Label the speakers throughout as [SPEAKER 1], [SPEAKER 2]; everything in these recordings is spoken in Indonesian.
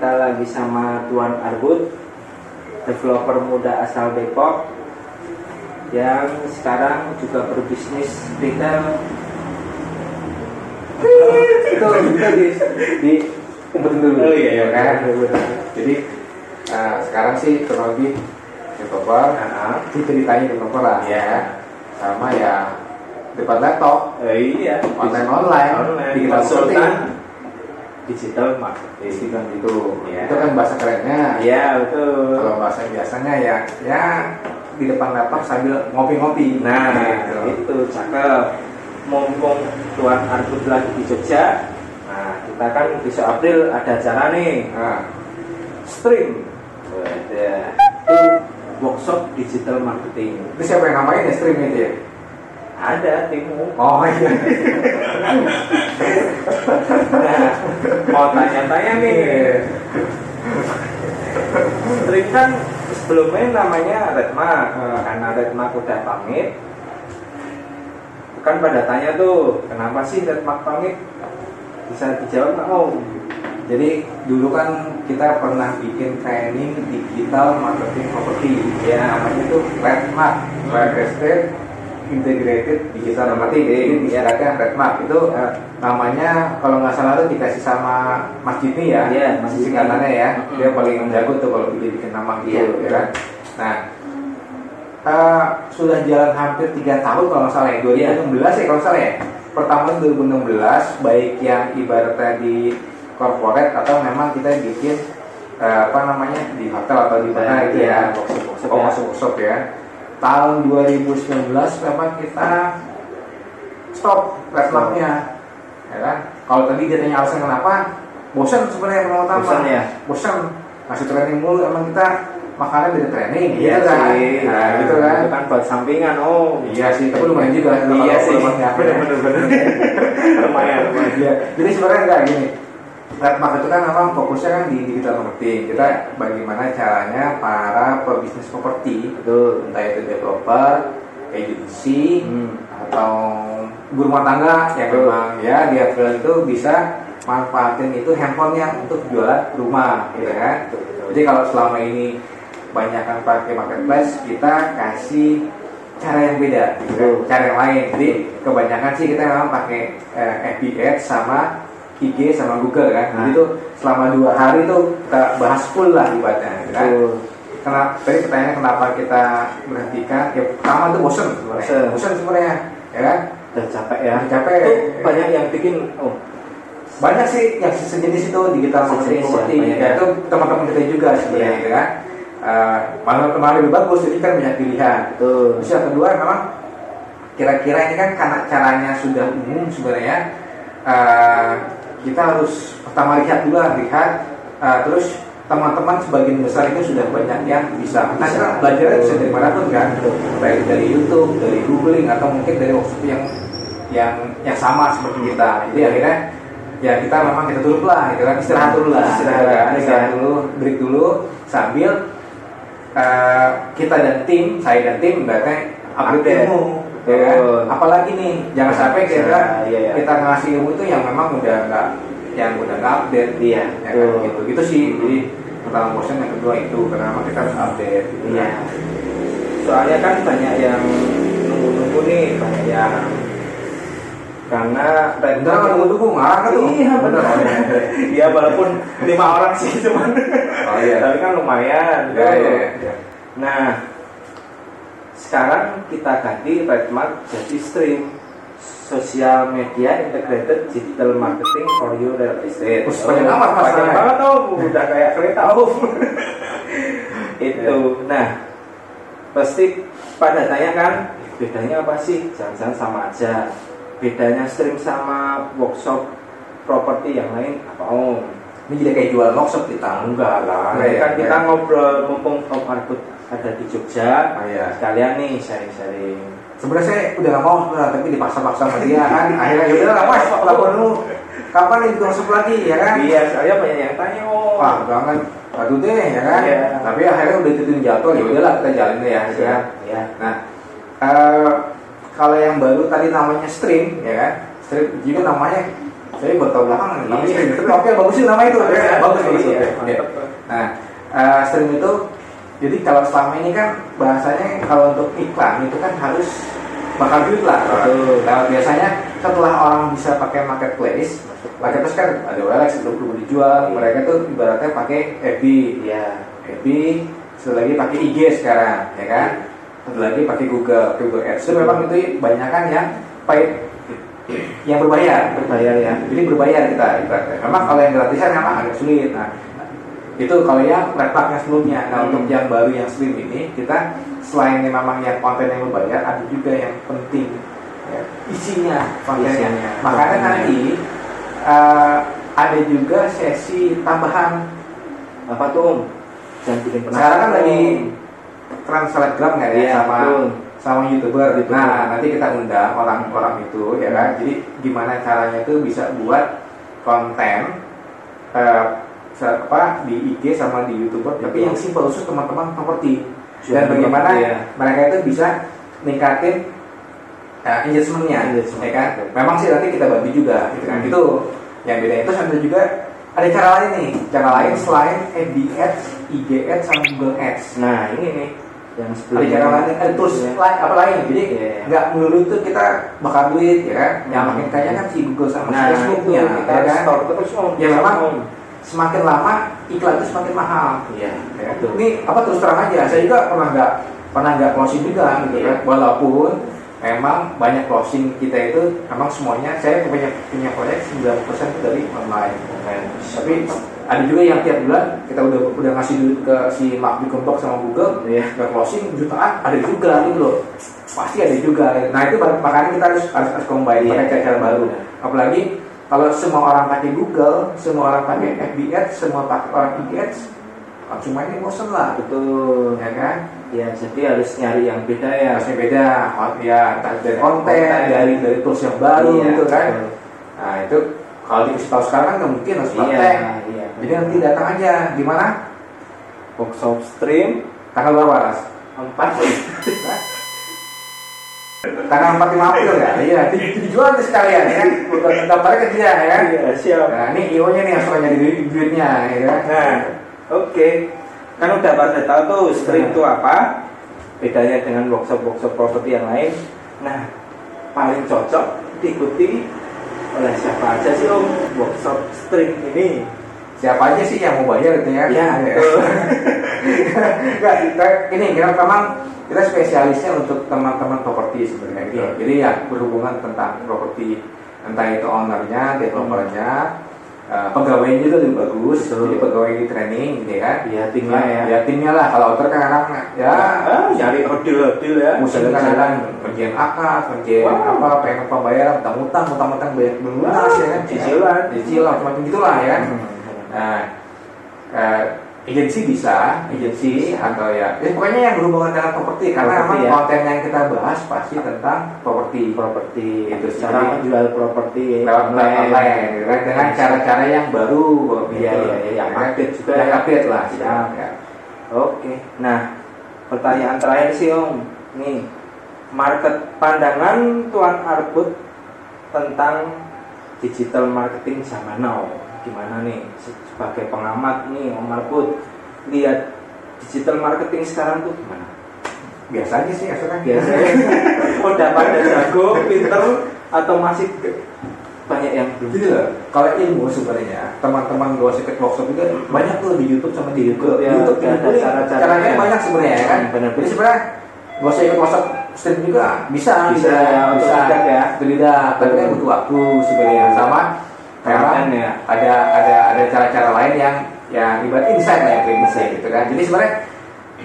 [SPEAKER 1] Kan lagi sama Tuan Argut, developer muda asal Depok yang sekarang juga berbisnis retail. itu itu di, di umpetin dulu.
[SPEAKER 2] Oh, iya, iya.
[SPEAKER 1] Kan?
[SPEAKER 2] Jadi eh, sekarang sih kurang lebih developer,
[SPEAKER 1] Nah,
[SPEAKER 2] ceritanya developer lah ya.
[SPEAKER 1] Iya.
[SPEAKER 2] Sama ya depan laptop,
[SPEAKER 1] eh, iya.
[SPEAKER 2] online online,
[SPEAKER 1] Online,
[SPEAKER 2] bikin
[SPEAKER 1] konsultan,
[SPEAKER 2] marketing.
[SPEAKER 1] digital marketing.
[SPEAKER 2] Istilah itu,
[SPEAKER 1] Iya.
[SPEAKER 2] itu kan bahasa kerennya.
[SPEAKER 1] Iya betul.
[SPEAKER 2] Kalau bahasa biasanya ya, ya di depan laptop sambil ngopi-ngopi.
[SPEAKER 1] Nah,
[SPEAKER 2] Gitu.
[SPEAKER 1] itu cakep. Mumpung Tuan Arbut lagi di Jogja, nah kita kan besok April ada acara nih,
[SPEAKER 2] Nah,
[SPEAKER 1] stream. Wadah. Itu workshop digital marketing.
[SPEAKER 2] itu siapa yang ngapain ya stream itu ya?
[SPEAKER 1] Ada timmu.
[SPEAKER 2] Oh iya.
[SPEAKER 1] Nah, mau tanya-tanya
[SPEAKER 2] Iya.
[SPEAKER 1] nih. Stream kan sebelumnya namanya Redmark.
[SPEAKER 2] Hmm.
[SPEAKER 1] Karena Redmark udah pamit, kan pada tanya tuh kenapa sih Redmark pamit? Bisa dijawab nggak om?
[SPEAKER 2] Jadi dulu kan kita pernah bikin training digital marketing property ya namanya itu Redmark Red Estate Integrated Digital Marketing jadi
[SPEAKER 1] Hmm.
[SPEAKER 2] ini istilahnya Redmark itu eh, namanya kalau nggak salah itu dikasih sama Mas Jimmy ya
[SPEAKER 1] Iya, Mas
[SPEAKER 2] Mas
[SPEAKER 1] Jimmy.
[SPEAKER 2] singkatannya ya
[SPEAKER 1] Mm-mm.
[SPEAKER 2] dia paling menjago tuh kalau bikin bikin nama gitu
[SPEAKER 1] Iya.
[SPEAKER 2] ya kan nah eh, sudah jalan hampir tiga tahun kalau nggak salah ya 2016 ya kalau nggak salah ya pertama itu 2016 baik yang ibaratnya di corporate atau memang kita bikin eh, apa namanya di hotel atau di
[SPEAKER 1] Nah,
[SPEAKER 2] mana gitu ya
[SPEAKER 1] workshop-workshop
[SPEAKER 2] Oh,
[SPEAKER 1] ya.
[SPEAKER 2] masuk workshop ya. Tahun 2019 memang kita stop laptopnya, ya kan? Kalau tadi dia tanya alasan kenapa, bosan sebenarnya yang utama.
[SPEAKER 1] Bosan ya?
[SPEAKER 2] Bosan. Masih training mulu, emang kita makannya dari training,
[SPEAKER 1] Iya
[SPEAKER 2] gitu kan?
[SPEAKER 1] sih,
[SPEAKER 2] Nah, gitu kan?
[SPEAKER 1] Itu kan buat sampingan, oh.
[SPEAKER 2] Iya sih, tapi lumayan juga. kalau ya.
[SPEAKER 1] Iya sih,
[SPEAKER 2] kalau nggak-
[SPEAKER 1] bener-bener. Lumayan, lumayan.
[SPEAKER 2] Iya, jadi sebenarnya enggak gini. Redmark itu kan memang fokusnya kan di digital marketing. Kita bagaimana caranya para pebisnis properti,
[SPEAKER 1] Betul.
[SPEAKER 2] entah itu developer, agency,
[SPEAKER 1] Hmm.
[SPEAKER 2] atau ibu rumah tangga yang memang ya dia freelance itu bisa manfaatin itu handphonenya untuk jualan rumah gitu kan jadi kalau selama ini banyak yang pakai marketplace kita kasih cara yang beda gitu kan,
[SPEAKER 1] Betul.
[SPEAKER 2] cara yang lain jadi kebanyakan sih kita memang pakai eh, FB Ads sama IG sama Google kan jadi
[SPEAKER 1] Nah.
[SPEAKER 2] itu selama dua hari tuh kita bahas full lah ibaratnya gitu kan
[SPEAKER 1] Betul.
[SPEAKER 2] karena tadi pertanyaannya kenapa kita berhentikan ya pertama itu bosen sebenarnya.
[SPEAKER 1] Bosen.
[SPEAKER 2] bosen sebenarnya ya kan
[SPEAKER 1] Udah capek ya.
[SPEAKER 2] Udah capek.
[SPEAKER 1] Tuh, banyak yang bikin, oh.
[SPEAKER 2] banyak sih yang sejenis itu digital
[SPEAKER 1] Sejenis
[SPEAKER 2] marketing
[SPEAKER 1] ya,
[SPEAKER 2] properti
[SPEAKER 1] banyak
[SPEAKER 2] ya
[SPEAKER 1] ya.
[SPEAKER 2] itu teman-teman kita juga sebenarnya
[SPEAKER 1] Iya.
[SPEAKER 2] gitu kan Eh, malah kemarin lebih bagus jadi kan banyak pilihan
[SPEAKER 1] Betul.
[SPEAKER 2] terus yang kedua memang kira-kira ini kan karena caranya sudah umum sebenarnya eh, kita harus pertama lihat dulu lah, lihat eh, terus teman-teman sebagian besar itu sudah banyak yang bisa nah
[SPEAKER 1] Bisa.
[SPEAKER 2] kita belajarnya bisa dari mana pun kan baik dari YouTube dari googling atau mungkin dari workshop yang yang yang sama seperti kita jadi akhirnya ya kita memang kita tutup lah gitu kan istirahat dulu lah
[SPEAKER 1] Istirahat,
[SPEAKER 2] istirahat, istirahat
[SPEAKER 1] iya.
[SPEAKER 2] dulu break dulu sambil eh, kita dan tim saya dan tim berarti update
[SPEAKER 1] Update.
[SPEAKER 2] ilmu ya kan?
[SPEAKER 1] Betul.
[SPEAKER 2] apalagi nih jangan sampai
[SPEAKER 1] Bisa,
[SPEAKER 2] kita
[SPEAKER 1] iya, iya.
[SPEAKER 2] kita ngasih ilmu itu yang memang udah nggak yang udah nggak update
[SPEAKER 1] Iya,
[SPEAKER 2] ya kan?
[SPEAKER 1] betul. Hmm.
[SPEAKER 2] gitu gitu sih jadi pertama bosan yang kedua itu karena memang kita harus update gitu
[SPEAKER 1] Iya.
[SPEAKER 2] kan.
[SPEAKER 1] Soalnya kan banyak yang nunggu-nunggu nih, banyak yang karena
[SPEAKER 2] Bentar kan tunggu tunggu ngarang kan tuh.
[SPEAKER 1] Iya, bener.
[SPEAKER 2] Oh, iya.
[SPEAKER 1] Iya walaupun lima orang sih cuman.
[SPEAKER 2] Oh, iya.
[SPEAKER 1] Tapi kan lumayan.
[SPEAKER 2] Iya,
[SPEAKER 1] tuh.
[SPEAKER 2] iya, iya.
[SPEAKER 1] Nah, sekarang kita ganti trademark jadi stream social media integrated digital marketing for your real estate. Oh,
[SPEAKER 2] Terus banyak amat, Mas.
[SPEAKER 1] Banyak
[SPEAKER 2] Nah.
[SPEAKER 1] banget om, udah kayak kereta om. Itu. Nah, pasti pada tanya kan bedanya apa sih? Jangan-jangan sama aja. Bedanya stream sama workshop properti yang lain apa om?
[SPEAKER 2] Ini jadi kayak jual workshop kita.
[SPEAKER 1] Enggak lah.
[SPEAKER 2] Enggak ya,
[SPEAKER 1] kan kita
[SPEAKER 2] enggak.
[SPEAKER 1] ngobrol mumpung Om Arbut ada di Jogja.
[SPEAKER 2] Oh, iya.
[SPEAKER 1] Sekalian nih sharing-sharing.
[SPEAKER 2] Sebenarnya saya udah gak mau sebenarnya, tapi dipaksa-paksa sama dia kan. Akhirnya ya udah lah mas, lapor dulu. Kapan nih bikin workshop lagi ya kan?
[SPEAKER 1] Iya, soalnya banyak yang tanya oh, Om.
[SPEAKER 2] Wah, banget. Aduh deh ya kan.
[SPEAKER 1] Iya.
[SPEAKER 2] Tapi akhirnya udah ditentuin jadwal, ya udahlah kita jalanin ya. gitu
[SPEAKER 1] Iya.
[SPEAKER 2] kan.
[SPEAKER 1] Iya.
[SPEAKER 2] Nah, eh, kalau yang baru tadi namanya stream, ya kan? Stream juga namanya saya baru tahu belakangan namanya
[SPEAKER 1] Iya.
[SPEAKER 2] stream. Tapi oke bagus sih nama itu. ya kan? Bagus bagus.
[SPEAKER 1] Iya,
[SPEAKER 2] oke, oke.
[SPEAKER 1] mantep.
[SPEAKER 2] Nah, eh, stream itu jadi kalau selama ini kan bahasanya kalau untuk iklan itu kan harus bakal duit lah.
[SPEAKER 1] Betul.
[SPEAKER 2] Nah, biasanya setelah orang bisa pakai marketplace, marketplace kan ada OLX itu belum
[SPEAKER 1] Iya.
[SPEAKER 2] dijual, mereka tuh ibaratnya pakai FB,
[SPEAKER 1] Iya.
[SPEAKER 2] FB, satu lagi pakai IG sekarang, ya kan? Satu lagi pakai Google, Google Ads. Itu memang itu banyakan yang paid, yang berbayar.
[SPEAKER 1] Berbayar ya.
[SPEAKER 2] Jadi berbayar kita ibaratnya. Memang kalau yang gratisan memang agak sulit. Nah, itu kalau yang laptop yang sebelumnya. Nah,
[SPEAKER 1] Hmm.
[SPEAKER 2] untuk yang baru yang slim ini kita selain yang memang yang konten yang berbayar, ada juga yang penting ya, isinya kontennya.
[SPEAKER 1] Isinya. Hmm.
[SPEAKER 2] Makanya
[SPEAKER 1] Kontennya.
[SPEAKER 2] nanti eh, ada juga sesi tambahan
[SPEAKER 1] Apa tuh Om? Jangan bikin penasaran.
[SPEAKER 2] Sekarang kan lagi
[SPEAKER 1] Om.
[SPEAKER 2] trans selebgram kan ya
[SPEAKER 1] Iya,
[SPEAKER 2] sama
[SPEAKER 1] betul.
[SPEAKER 2] sama youtuber
[SPEAKER 1] Betul.
[SPEAKER 2] Nah nanti kita undang orang-orang itu ya kan. Jadi gimana caranya itu bisa buat konten eh, se- apa di IG sama di youtuber, tapi
[SPEAKER 1] Betul.
[SPEAKER 2] yang simpel khusus teman-teman properti
[SPEAKER 1] Jualan
[SPEAKER 2] dan bagaimana
[SPEAKER 1] produk, ya.
[SPEAKER 2] mereka itu bisa ningkatin eh, engagementnya,
[SPEAKER 1] Engagement.
[SPEAKER 2] ya kan? Memang sih nanti kita bantu juga, gitu kan? Itu yang beda itu sambil juga ada cara lain nih, cara lain selain FB Ads, IG Ads, sama Google Ads
[SPEAKER 1] Nah ini nih yang sebelumnya.
[SPEAKER 2] ada cara lain ada tools
[SPEAKER 1] Iya.
[SPEAKER 2] lain apa lain jadi
[SPEAKER 1] Iya.
[SPEAKER 2] nggak melulu tuh kita bakar duit ya kan yang
[SPEAKER 1] Hmm.
[SPEAKER 2] makin kaya kan si Google sama
[SPEAKER 1] Nah, iya.
[SPEAKER 2] si
[SPEAKER 1] itu
[SPEAKER 2] Facebook ya,
[SPEAKER 1] kita
[SPEAKER 2] ya kan
[SPEAKER 1] store terus Om.
[SPEAKER 2] Ya, memang.
[SPEAKER 1] Om.
[SPEAKER 2] semakin lama iklan itu semakin mahal
[SPEAKER 1] Iya.
[SPEAKER 2] ya kan?
[SPEAKER 1] Betul.
[SPEAKER 2] ini apa terus terang aja saya juga pernah nggak pernah nggak closing juga gitu
[SPEAKER 1] Iya.
[SPEAKER 2] kan walaupun memang banyak closing kita itu memang semuanya saya punya punya proyek 90% itu dari online tapi ada juga yang tiap bulan kita udah udah ngasih duit ke si Mark Zuckerberg sama Google
[SPEAKER 1] Iya.
[SPEAKER 2] udah closing jutaan ada juga gitu loh pasti ada juga nah itu mak- makanya kita harus harus, harus combine
[SPEAKER 1] Iya.
[SPEAKER 2] pakai cara-cara baru apalagi kalau semua orang pakai Google semua orang pakai FB Ads semua pakai orang IG Ads langsung mainnya bosen lah
[SPEAKER 1] Betul.
[SPEAKER 2] ya kan
[SPEAKER 1] Ya jadi harus nyari yang beda ya.
[SPEAKER 2] harusnya beda Kon- ya entah dari konten
[SPEAKER 1] Konten.
[SPEAKER 2] dari dari tools yang baru
[SPEAKER 1] Iya,
[SPEAKER 2] gitu kan
[SPEAKER 1] betul.
[SPEAKER 2] nah itu kalau dikasih tahu sekarang kan nggak mungkin harus
[SPEAKER 1] Iya.
[SPEAKER 2] praktek
[SPEAKER 1] Iya.
[SPEAKER 2] jadi nanti datang aja di mana
[SPEAKER 1] box of stream
[SPEAKER 2] tanggal berapa Ras?
[SPEAKER 1] empat. eh,
[SPEAKER 2] Hah? tanggal 45 April ya? Iya, di- dijual tuh sekalian ya kan? Gambarnya ke dia ya kan?
[SPEAKER 1] Iya siap.
[SPEAKER 2] Nah, ini IO nya nih yang suka nyari duit- duitnya ya kan?
[SPEAKER 1] Nah, oke. Kan udah pada tahu tuh stream itu apa, bedanya dengan workshop-workshop properti yang lain. Nah, paling cocok diikuti oleh siapa aja sih om workshop stream ini?
[SPEAKER 2] Siapa aja sih yang mau bayar gitu ya?
[SPEAKER 1] Iya, betul.
[SPEAKER 2] Enggak, kita, ini kita memang kita spesialisnya untuk teman-teman properti sebenarnya gitu.
[SPEAKER 1] Iya.
[SPEAKER 2] Jadi ya berhubungan tentang properti entah itu ownernya, developernya, eh, pegawainya itu lebih bagus.
[SPEAKER 1] Hmm. Betul.
[SPEAKER 2] Jadi pegawai di training gitu ya kan?
[SPEAKER 1] Iya, timnya ya.
[SPEAKER 2] Ya timnya lah kalau outer kan anak ya
[SPEAKER 1] Ah, nyari odil-odil ya.
[SPEAKER 2] Misalnya kan ada penjian akad, penjian
[SPEAKER 1] Wow.
[SPEAKER 2] apa, pengen pembayaran, utang-utang, utang-utang banyak belum lunas ya kan,
[SPEAKER 1] cicilan.
[SPEAKER 2] cicilan, macam gitulah
[SPEAKER 1] Iya.
[SPEAKER 2] ya kan. Nah, eh, agensi bisa, agensi atau ya, ya, pokoknya yang berhubungan dengan properti,
[SPEAKER 1] Properti,
[SPEAKER 2] karena memang
[SPEAKER 1] ya.
[SPEAKER 2] konten yang kita bahas pasti tentang properti
[SPEAKER 1] properti
[SPEAKER 2] Itu
[SPEAKER 1] itu Iya.
[SPEAKER 2] sih.
[SPEAKER 1] cara menjual properti
[SPEAKER 2] lewat online, online gitu kan, dengan cara-cara yang baru,
[SPEAKER 1] ya. Iya,
[SPEAKER 2] gitu.
[SPEAKER 1] iya, iya, yang
[SPEAKER 2] Ya kan?
[SPEAKER 1] update juga
[SPEAKER 2] yang
[SPEAKER 1] ya.
[SPEAKER 2] update lah,
[SPEAKER 1] Siap.
[SPEAKER 2] ya.
[SPEAKER 1] Oke, nah pertanyaan terakhir sih Om, nih market pandangan Tuan Arbut tentang digital marketing zaman now gimana nih Se- sebagai pengamat nih Om Arbut lihat digital marketing sekarang tuh gimana?
[SPEAKER 2] biasa aja sih, maksudnya.
[SPEAKER 1] Biasanya udah pada jago, pinter atau masih ke- banyak yang belum?
[SPEAKER 2] Jadi gitu loh, kalau ilmu sebenarnya teman-teman gue ikut workshop juga banyak tuh di YouTube sama di
[SPEAKER 1] YouTube,
[SPEAKER 2] YouTube.
[SPEAKER 1] ya.
[SPEAKER 2] YouTube
[SPEAKER 1] Ada
[SPEAKER 2] di YouTube,
[SPEAKER 1] cara-caranya.
[SPEAKER 2] caranya banyak sebenarnya ya kan.
[SPEAKER 1] Hmm, benar.
[SPEAKER 2] Jadi sebenarnya gue ikut workshop stream juga bisa, gitu.
[SPEAKER 1] Bisa, ya,
[SPEAKER 2] bisa,
[SPEAKER 1] otodidak ya.
[SPEAKER 2] Otodidak, tapi kan butuh waktu sebenarnya sama.
[SPEAKER 1] Konten
[SPEAKER 2] Memang
[SPEAKER 1] ya.
[SPEAKER 2] ada ada ada cara-cara lain yang yang ibarat insight lah yang insight gitu kan. Jadi sebenarnya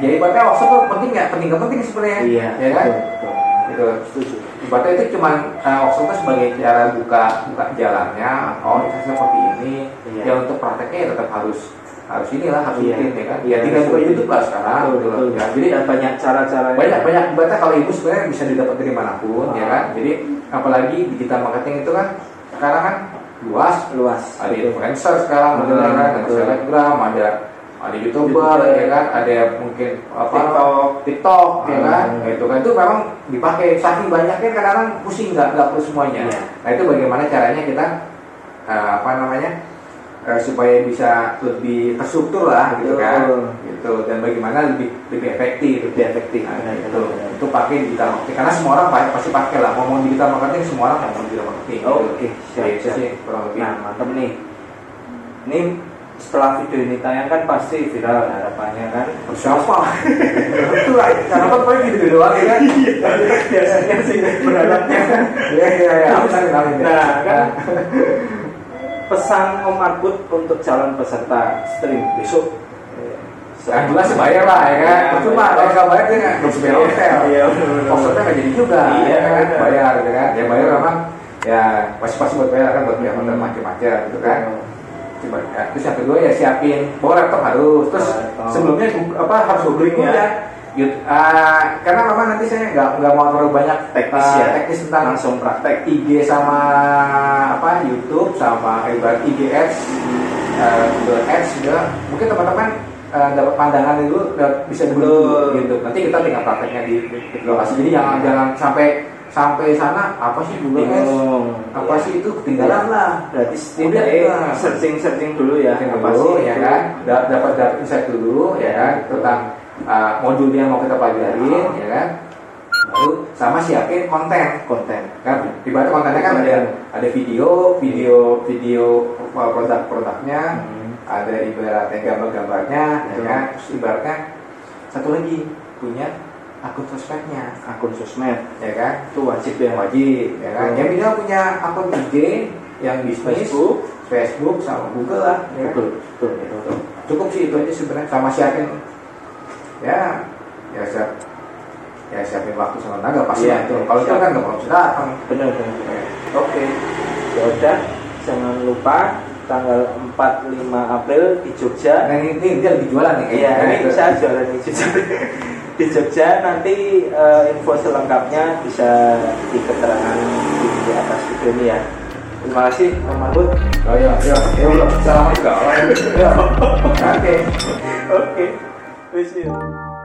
[SPEAKER 2] jadi ibaratnya workshop tuh penting nggak penting nggak penting sebenarnya,
[SPEAKER 1] Iya,
[SPEAKER 2] ya kan?
[SPEAKER 1] betul, betul.
[SPEAKER 2] Gitu.
[SPEAKER 1] Setuju.
[SPEAKER 2] Ibaratnya itu cuma uh, itu sebagai cara buka buka jalannya, oh ini seperti ini.
[SPEAKER 1] Iya.
[SPEAKER 2] Ya untuk prakteknya ya tetap harus harus inilah harus
[SPEAKER 1] Iya.
[SPEAKER 2] rutin ya kan. Ya
[SPEAKER 1] Harus
[SPEAKER 2] tinggal buka
[SPEAKER 1] rutin.
[SPEAKER 2] YouTube lah sekarang.
[SPEAKER 1] Betul,
[SPEAKER 2] gitu loh.
[SPEAKER 1] betul.
[SPEAKER 2] Ya,
[SPEAKER 1] Jadi
[SPEAKER 2] jadi
[SPEAKER 1] ada banyak cara-cara
[SPEAKER 2] banyak banyak ibaratnya kalau ibu sebenarnya bisa didapat dari manapun ya kan. Jadi apalagi digital marketing itu kan sekarang kan luas.
[SPEAKER 1] luas. Gitu.
[SPEAKER 2] Ada influencer sekarang,
[SPEAKER 1] Betul,
[SPEAKER 2] ada kan, ada
[SPEAKER 1] betul.
[SPEAKER 2] selebgram, ada ada youtuber
[SPEAKER 1] YouTuber.
[SPEAKER 2] ya kan, ada mungkin apa
[SPEAKER 1] TikTok.
[SPEAKER 2] TikTok ya
[SPEAKER 1] Hmm.
[SPEAKER 2] kan, Nah, itu kan itu memang dipakai saking banyaknya kadang pusing nggak nggak perlu semuanya.
[SPEAKER 1] Iya.
[SPEAKER 2] Nah itu bagaimana caranya kita eh, apa namanya eh, supaya bisa lebih terstruktur lah gitu kan
[SPEAKER 1] Betul.
[SPEAKER 2] gitu dan bagaimana lebih lebih efektif
[SPEAKER 1] lebih efektif
[SPEAKER 2] Nah,
[SPEAKER 1] benar,
[SPEAKER 2] itu,
[SPEAKER 1] benar, benar.
[SPEAKER 2] itu pakai digital marketing karena semua orang pa- pasti pakai lah ngomong digital marketing semua orang ngomong digital marketing gitu.
[SPEAKER 1] oke siap,
[SPEAKER 2] Ya, itu
[SPEAKER 1] siap.
[SPEAKER 2] sih kurang lebih
[SPEAKER 1] Oh. Nah, mantap nih. Ini setelah video ini tayangkan pasti viral harapannya kan.
[SPEAKER 2] siapa itu lah karena kan paling gitu doang ya kan
[SPEAKER 1] Biasanya sih berharapnya.
[SPEAKER 2] ya ya ya aku sangat kenalin ya.
[SPEAKER 1] Nah, kan pesan Om Arbut untuk calon peserta stream besok. Eh,
[SPEAKER 2] Yang jelas bayar lah ya kan.
[SPEAKER 1] Iya,
[SPEAKER 2] Percuma
[SPEAKER 1] bayar.
[SPEAKER 2] kalau nggak bayar dia nggak bisa bayar hotel.
[SPEAKER 1] Iya, benar-benar.
[SPEAKER 2] Maksudnya nggak jadi juga.
[SPEAKER 1] Iya,
[SPEAKER 2] ya kan?
[SPEAKER 1] benar.
[SPEAKER 2] Bayar gitu kan. Ya bayar memang ya pasti pasti buat bayar kan buat bayar hotel
[SPEAKER 1] Hmm.
[SPEAKER 2] macam-macam gitu kan. Coba ya. terus yang kedua ya siapin bawa laptop harus. Terus
[SPEAKER 1] Laptop.
[SPEAKER 2] sebelumnya gu- apa harus googling
[SPEAKER 1] Iya.
[SPEAKER 2] ya. Yut- ah, karena memang nanti saya nggak nggak mau terlalu banyak
[SPEAKER 1] Teknis
[SPEAKER 2] ah,
[SPEAKER 1] ya.
[SPEAKER 2] teknis tentang
[SPEAKER 1] langsung praktek.
[SPEAKER 2] IG sama apa YouTube sama ibarat IG Ads, eh, Google Ads juga mungkin teman-teman eh, dapat pandangan dulu dapat- bisa dulu
[SPEAKER 1] Betul.
[SPEAKER 2] gitu. Nanti kita tinggal prakteknya di, di lokasi. Jadi jangan jangan sampai sampai sana apa sih Google Ads? Apa
[SPEAKER 1] Iya.
[SPEAKER 2] sih itu ketinggalan lah.
[SPEAKER 1] Berarti
[SPEAKER 2] Udah.
[SPEAKER 1] setidaknya searching-searching dulu ya.
[SPEAKER 2] Yang
[SPEAKER 1] Apa
[SPEAKER 2] dulu
[SPEAKER 1] sih
[SPEAKER 2] ya
[SPEAKER 1] itu?
[SPEAKER 2] kan Da- dapat dapat insight dulu ya kan tentang eh, modulnya yang mau kita
[SPEAKER 1] Ah.
[SPEAKER 2] pelajarin ya kan. Baru sama siapin konten
[SPEAKER 1] Konten.
[SPEAKER 2] kan ibarat kontennya kan ada ada video video video
[SPEAKER 1] Kan
[SPEAKER 2] uh, produk-produknya ada ibaratnya gambar-gambarnya ya
[SPEAKER 1] Betul.
[SPEAKER 2] kan terus ibaratnya satu lagi punya akun sosmednya
[SPEAKER 1] Akun sosmed
[SPEAKER 2] ya kan
[SPEAKER 1] itu wajib ya.
[SPEAKER 2] yang wajib ya kan
[SPEAKER 1] Betul.
[SPEAKER 2] yang minimal punya akun IG yang bisnis Facebook,
[SPEAKER 1] Facebook,
[SPEAKER 2] sama Google lah ya kan?
[SPEAKER 1] Betul, betul, betul, betul.
[SPEAKER 2] cukup sih itu aja sebenarnya sama siapin ya ya siap ya siapin waktu sama tenaga pasti
[SPEAKER 1] Iya,
[SPEAKER 2] lah itu
[SPEAKER 1] iya.
[SPEAKER 2] kalau itu kan nggak bakal bisa datang
[SPEAKER 1] Benar, benar. benar. Oke. Ya udah, jangan lupa tanggal 4 5 April di Jogja.
[SPEAKER 2] Nah, ini, ini dia lagi jualan nih
[SPEAKER 1] Iya,
[SPEAKER 2] kayaknya. Nah,
[SPEAKER 1] ini saya jualan di Jogja. di Jogja nanti eh, info selengkapnya bisa di keterangan di, di atas video ini ya. Terima kasih, Om Mahmud.
[SPEAKER 2] Oh iya, iya, iya, belum. Salam juga. Oh, iya. Oke.
[SPEAKER 1] Oke. Wish you.